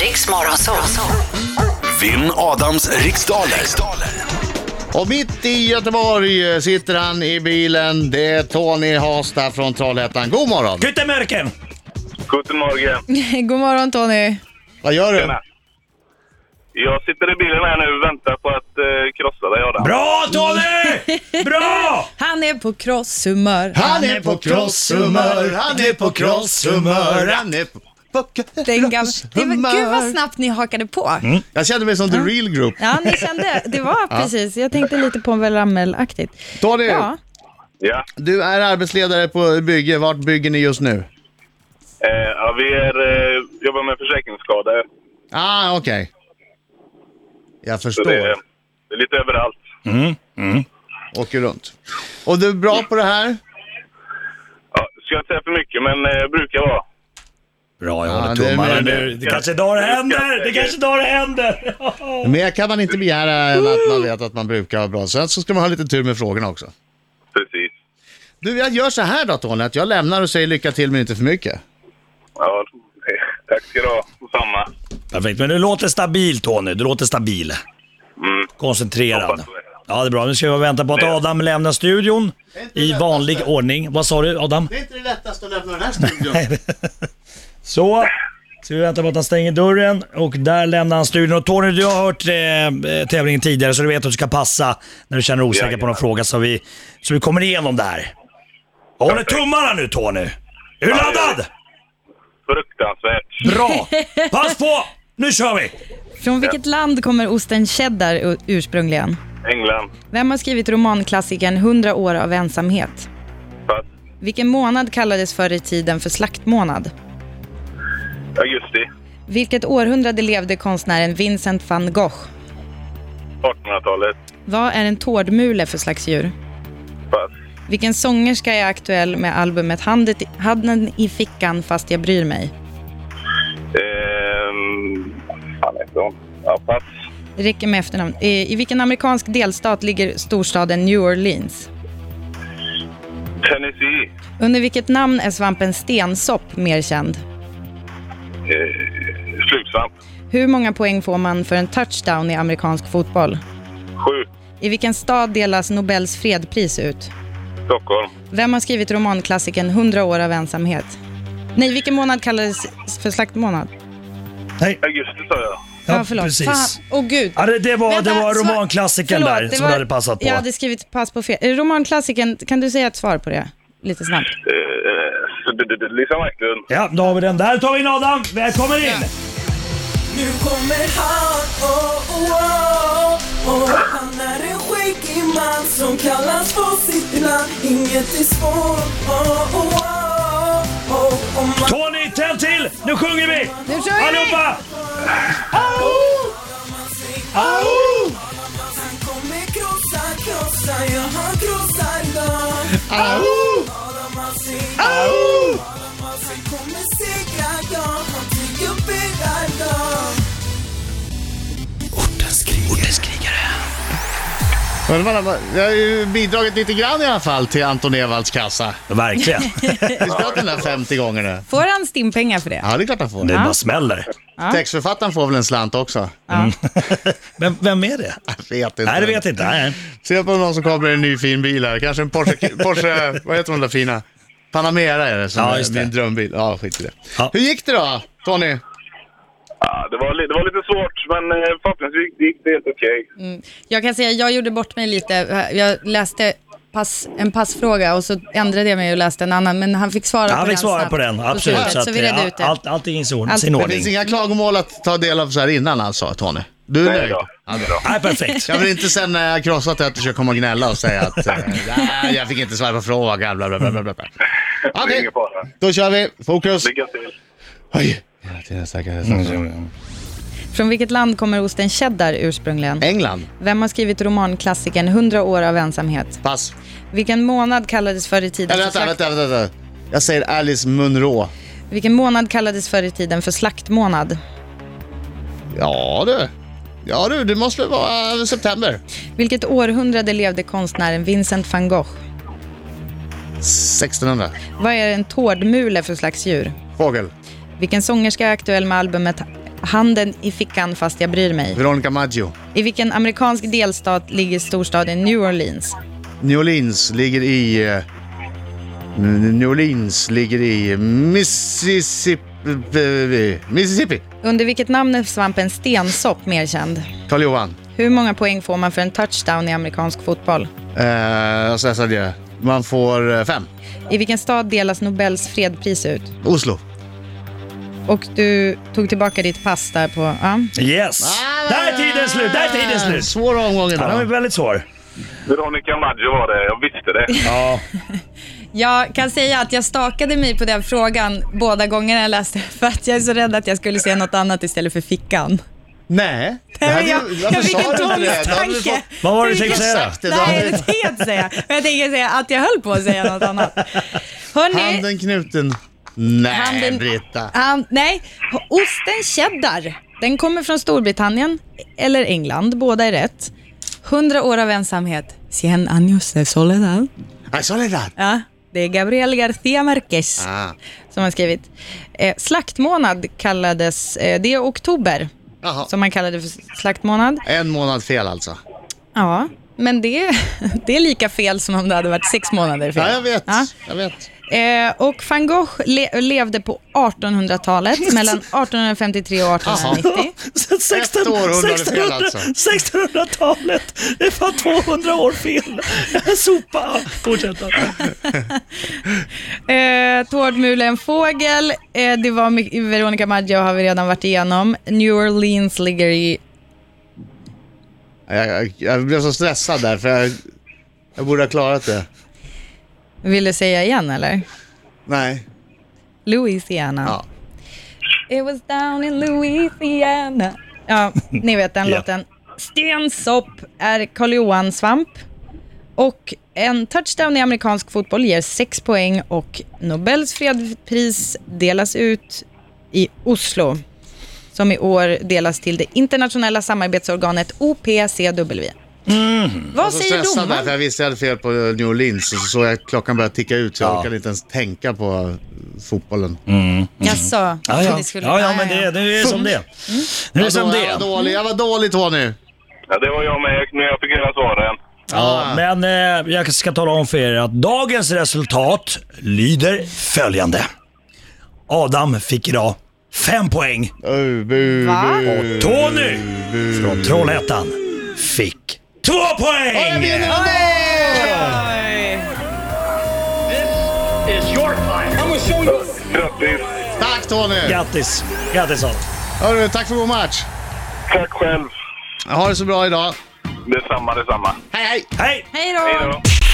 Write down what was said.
Riks Morgonzoo. Vinn Adams riksdaler. riksdaler. Och mitt i Göteborg eh, sitter han i bilen. Det är Tony Hasta från Trollhättan. God morgon! Guten Morgen! Guten Morgen. God morgon Tony. Vad gör du? Tjena. Jag sitter i bilen här nu och väntar på att eh, krossa dig Adam. Bra Tony! Bra! Han är på crosshumör. Han är på crosshumör, han är på crosshumör, han är på... Den gamla... Det var, gud vad snabbt ni hakade på. Jag kände mig som The Real Group. Ja, ni kände. Det var precis. Jag tänkte lite på enVel Ramel-aktigt. Tony, Ja. Ja. du är arbetsledare på bygge. Vart bygger ni just nu? Eh, ja, vi är, eh, jobbar med försäkringsskador. Ah, okej. Jag Så förstår. det, är- det är lite överallt. Åker runt. Och du är bra på det här? Ja, ska jag inte säga för mycket, men eh, brukar vara. Bra, jag Ja, håller det är tummarna med nu. Det kanske är idag det händer! Det kanske är idag det händer! Mer kan man inte begära än att man vet att man brukar ha bra. Sen så ska man ha lite tur med frågorna också. Precis. Du, jag gör så här då Tony, att jag lämnar och säger lycka till men inte för mycket. Ja, tack ska du ha. Samma. Perfekt, men du låter stabil Tony. Du låter stabil. Mm. Koncentrerad. Hoppas på det. Ja, det är bra. Nu ska vi vänta på att Adam lämnar studion i vanlig ordning. Vad sa du Adam? Det är inte det lättaste att lämna den här studion. Så, ska vi vänta på att han stänger dörren och där lämnar han studion. Och Tony, du har hört eh, tävlingen tidigare så du vet att du ska passa när du känner dig osäker på någon Jajamän. fråga så vi, så vi kommer igenom där. Jag håller tummarna nu Tony! Är du Ja, det gör laddad? Fruktansvärt. Bra! Pass på! Nu kör vi! Från vilket land kommer osten cheddar u- ursprungligen? England. Vem har skrivit romanklassikern 100 år av ensamhet? Pass. Vilken månad kallades förr i tiden för slaktmånad? Augusti. Vilket århundrade levde konstnären Vincent van Gogh? 1800-talet. Vad är en tårdmule för slags djur? Pass. Vilken sångerska är aktuell med albumet Handet i- Handen i fickan fast jag bryr mig? Ehm... Fan heter hon? Ja, pass. Det räcker med efternamn. Eh, I vilken amerikansk delstat ligger storstaden New Orleans? Tennessee. Under vilket namn är svampen stensopp mer känd? Eh, Flugsvamp. Hur många poäng får man för en touchdown i amerikansk fotboll? Sju. I vilken stad delas Nobels fredpris ut? Stockholm. Vem har skrivit romanklassikern 100 år av ensamhet? Nej, vilken månad kallades för slaktmånad? Nej, Augusti sa jag. ja, precis. Fan. Åh gud. Ja, det, det var, Vänta, det var svar- romanklassikern Förlåt, där det som var- du hade passat på. Jag hade skrivit pass på fel. Eh, Romanklassikern, kan du säga ett svar på det? Lite snabbt. Eh, Lisa Marklund. Ja, då har vi den. Där tar vi in Adam. Välkommen in! Nu kommer han, oh, oh, oh, oh. Han är en skäggig man som kallas på sitt land Inget är svårt, oh, oh, oh, oh. Om man Tony, tänd till! Nu sjunger vi! Nu kör vi! Allihopa! han kommer krossa, krossa, ja han krossar dem Adam Alsing, Adam Alsing kommer segra, ja han tycker bärar dem Men man, har- jag har ju bidragit lite grann i alla fall till Anton Ewalds kassa. Verkligen. Vi ska ha den där 50 gånger nu. Får han stimpengar för det? Ja, det är klart han får. Det bara smäller. Textförfattaren får väl en slant också? Men vem är det? Jag vet inte. Nej, det vet jag inte. Nej. Se på någon som kommer i en ny fin bil här. Kanske en Porsche, Porsche vad heter de där fina? Panamera är det som Ja, är just det. min drömbil. Ja, skit i det. Ja. Hur gick det då, Tony? Ja, det, var, li- det var lite svårt, men eh, förhoppningsvis gick det helt okej. Jag kan säga, jag gjorde bort mig lite. Jag läste pass, en passfråga och så ändrade jag mig och läste en annan, men han fick svara på Han den fick svara snabbt på den, absolut. slutet, Så, att, vi eh, redde ut det. Allt, allting är i sin Allt- sin Det ordning. finns inga klagomål att ta del av så här innan alltså, Tony? Du är Nej nöjd? då. Ja, bra. Nej, perfekt. Jag vill inte sen när jag har krossat det att du ska komma och gnälla och säga att eh, "Nej, jag fick inte svara på frågan, bla bla bla. bla, bla. bla." Det är Okej, ingen fara. då kör vi. Fokus. Lycka till. Oj. Hela tiden snackar jag- Från vilket land kommer osten cheddar ursprungligen? England. Vem har skrivit romanklassikern 100 år av ensamhet? Pass. Vilken månad kallades förr i tiden Eller för vänta, slakt... vänta, vänta, vänta. Jag säger Alice Munro. Vilken månad kallades förr i tiden för slaktmånad? Ja du. Ja du, det måste väl vara eh, september. Vilket århundrade levde konstnären Vincent van Gogh? 1600. Vad är en tårdmule för slags djur? Fågel. Vilken sångerska är aktuell med albumet handen i fickan fast jag bryr mig. Veronica Maggio. I vilken amerikansk delstat ligger storstaden New Orleans? New Orleans ligger i... eh, New Orleans ligger i Mississippi. Mississippi. Under vilket namn är svampen stensopp mer känd? Karl-Johan. Hur många poäng får man för en touchdown i amerikansk fotboll? Eh, och så här sa jag. Man får eh, fem. I vilken stad delas Nobels fredpris ut? Oslo. Och du tog tillbaka ditt pass där på... Ja. Yes! Där är tiden slut! Där är tiden Ah, slut! Svår omgång Den var ju idag. väldigt svår. Veronica Maggio var det, jag visste det. Ja. Jag kan säga att jag stakade mig på den frågan båda gångerna jag läste för att jag är så rädd att jag skulle säga något annat istället för fickan. Nej. Det hade Men ju- jag, varför jag fick sa en du inte det? Då hade du tvångstanke. Vad var det du tänkte fått- säga? Exakt, det då hade Nej, du det tänkte jag inte säga. Men jag tänker säga att jag höll på att säga något annat. Hörni, handen knuten. Nej, Handen- Britta. Um, nej, osten cheddar. Den kommer från Storbritannien eller England, båda är rätt. 100 år av ensamhet. Cien años de soledad. Ah, Soledad. Ja, det är Gabriel García Márquez Ah. som har skrivit. Eh, slaktmånad kallades, eh, det är oktober Jaha. som man kallade för slaktmånad. En månad fel alltså. Ja, men det, det är lika fel som om det hade varit sex månader fel. Ja, jag vet. Ja. Jag vet. Eh, och van Gogh le- levde på 1800-talet, mellan 1853 och 1890. Så 16, Ett århundrade fel 1600, alltså. 1600-talet är fan 200 år fel. Sopa. Fortsätt. Eh, Tårtmule, en fågel. Eh, det var my- Veronica Maggio har vi redan varit igenom. New Orleans ligger i... Jag, jag, jag blev så stressad där för jag, jag borde ha klarat det. Vill du säga igen eller? Nej. Louisiana. Ja. It was down in Louisiana. Ja, ni vet den Ja. låten. Stensopp är Karl Johan Svamp. Och en touchdown i amerikansk fotboll ger sex poäng och Nobels fredspris delas ut i Oslo som i år delas till det internationella samarbetsorganet OPCW. Mm. Vad Så säger stressad där för domaren? jag visste jag hade fel på New Orleans och så såg jag att klockan började ticka ut så jag orkade inte ens tänka på fotbollen. Jaså? Mm. Ja, ja. Ni skulle- ja, ja, men det, det är som det Nu är det Jag som var, jag det var dålig, jag var dålig Tony. Ja, det var jag med när jag fick höra svaren. Ja, men eh, jag ska tala om för er att dagens resultat lyder följande. Adam fick idag fem poäng Uh, bu, Va? bu. Tony från Trollhättan fick två poäng! Grattis! Tack Tony! Grattis! Grattis Adam. Hörru, tack för god match. Tack själv! Ha det så bra idag. Detsamma, detsamma. Hej hej! Hej! Hej Hej då! då!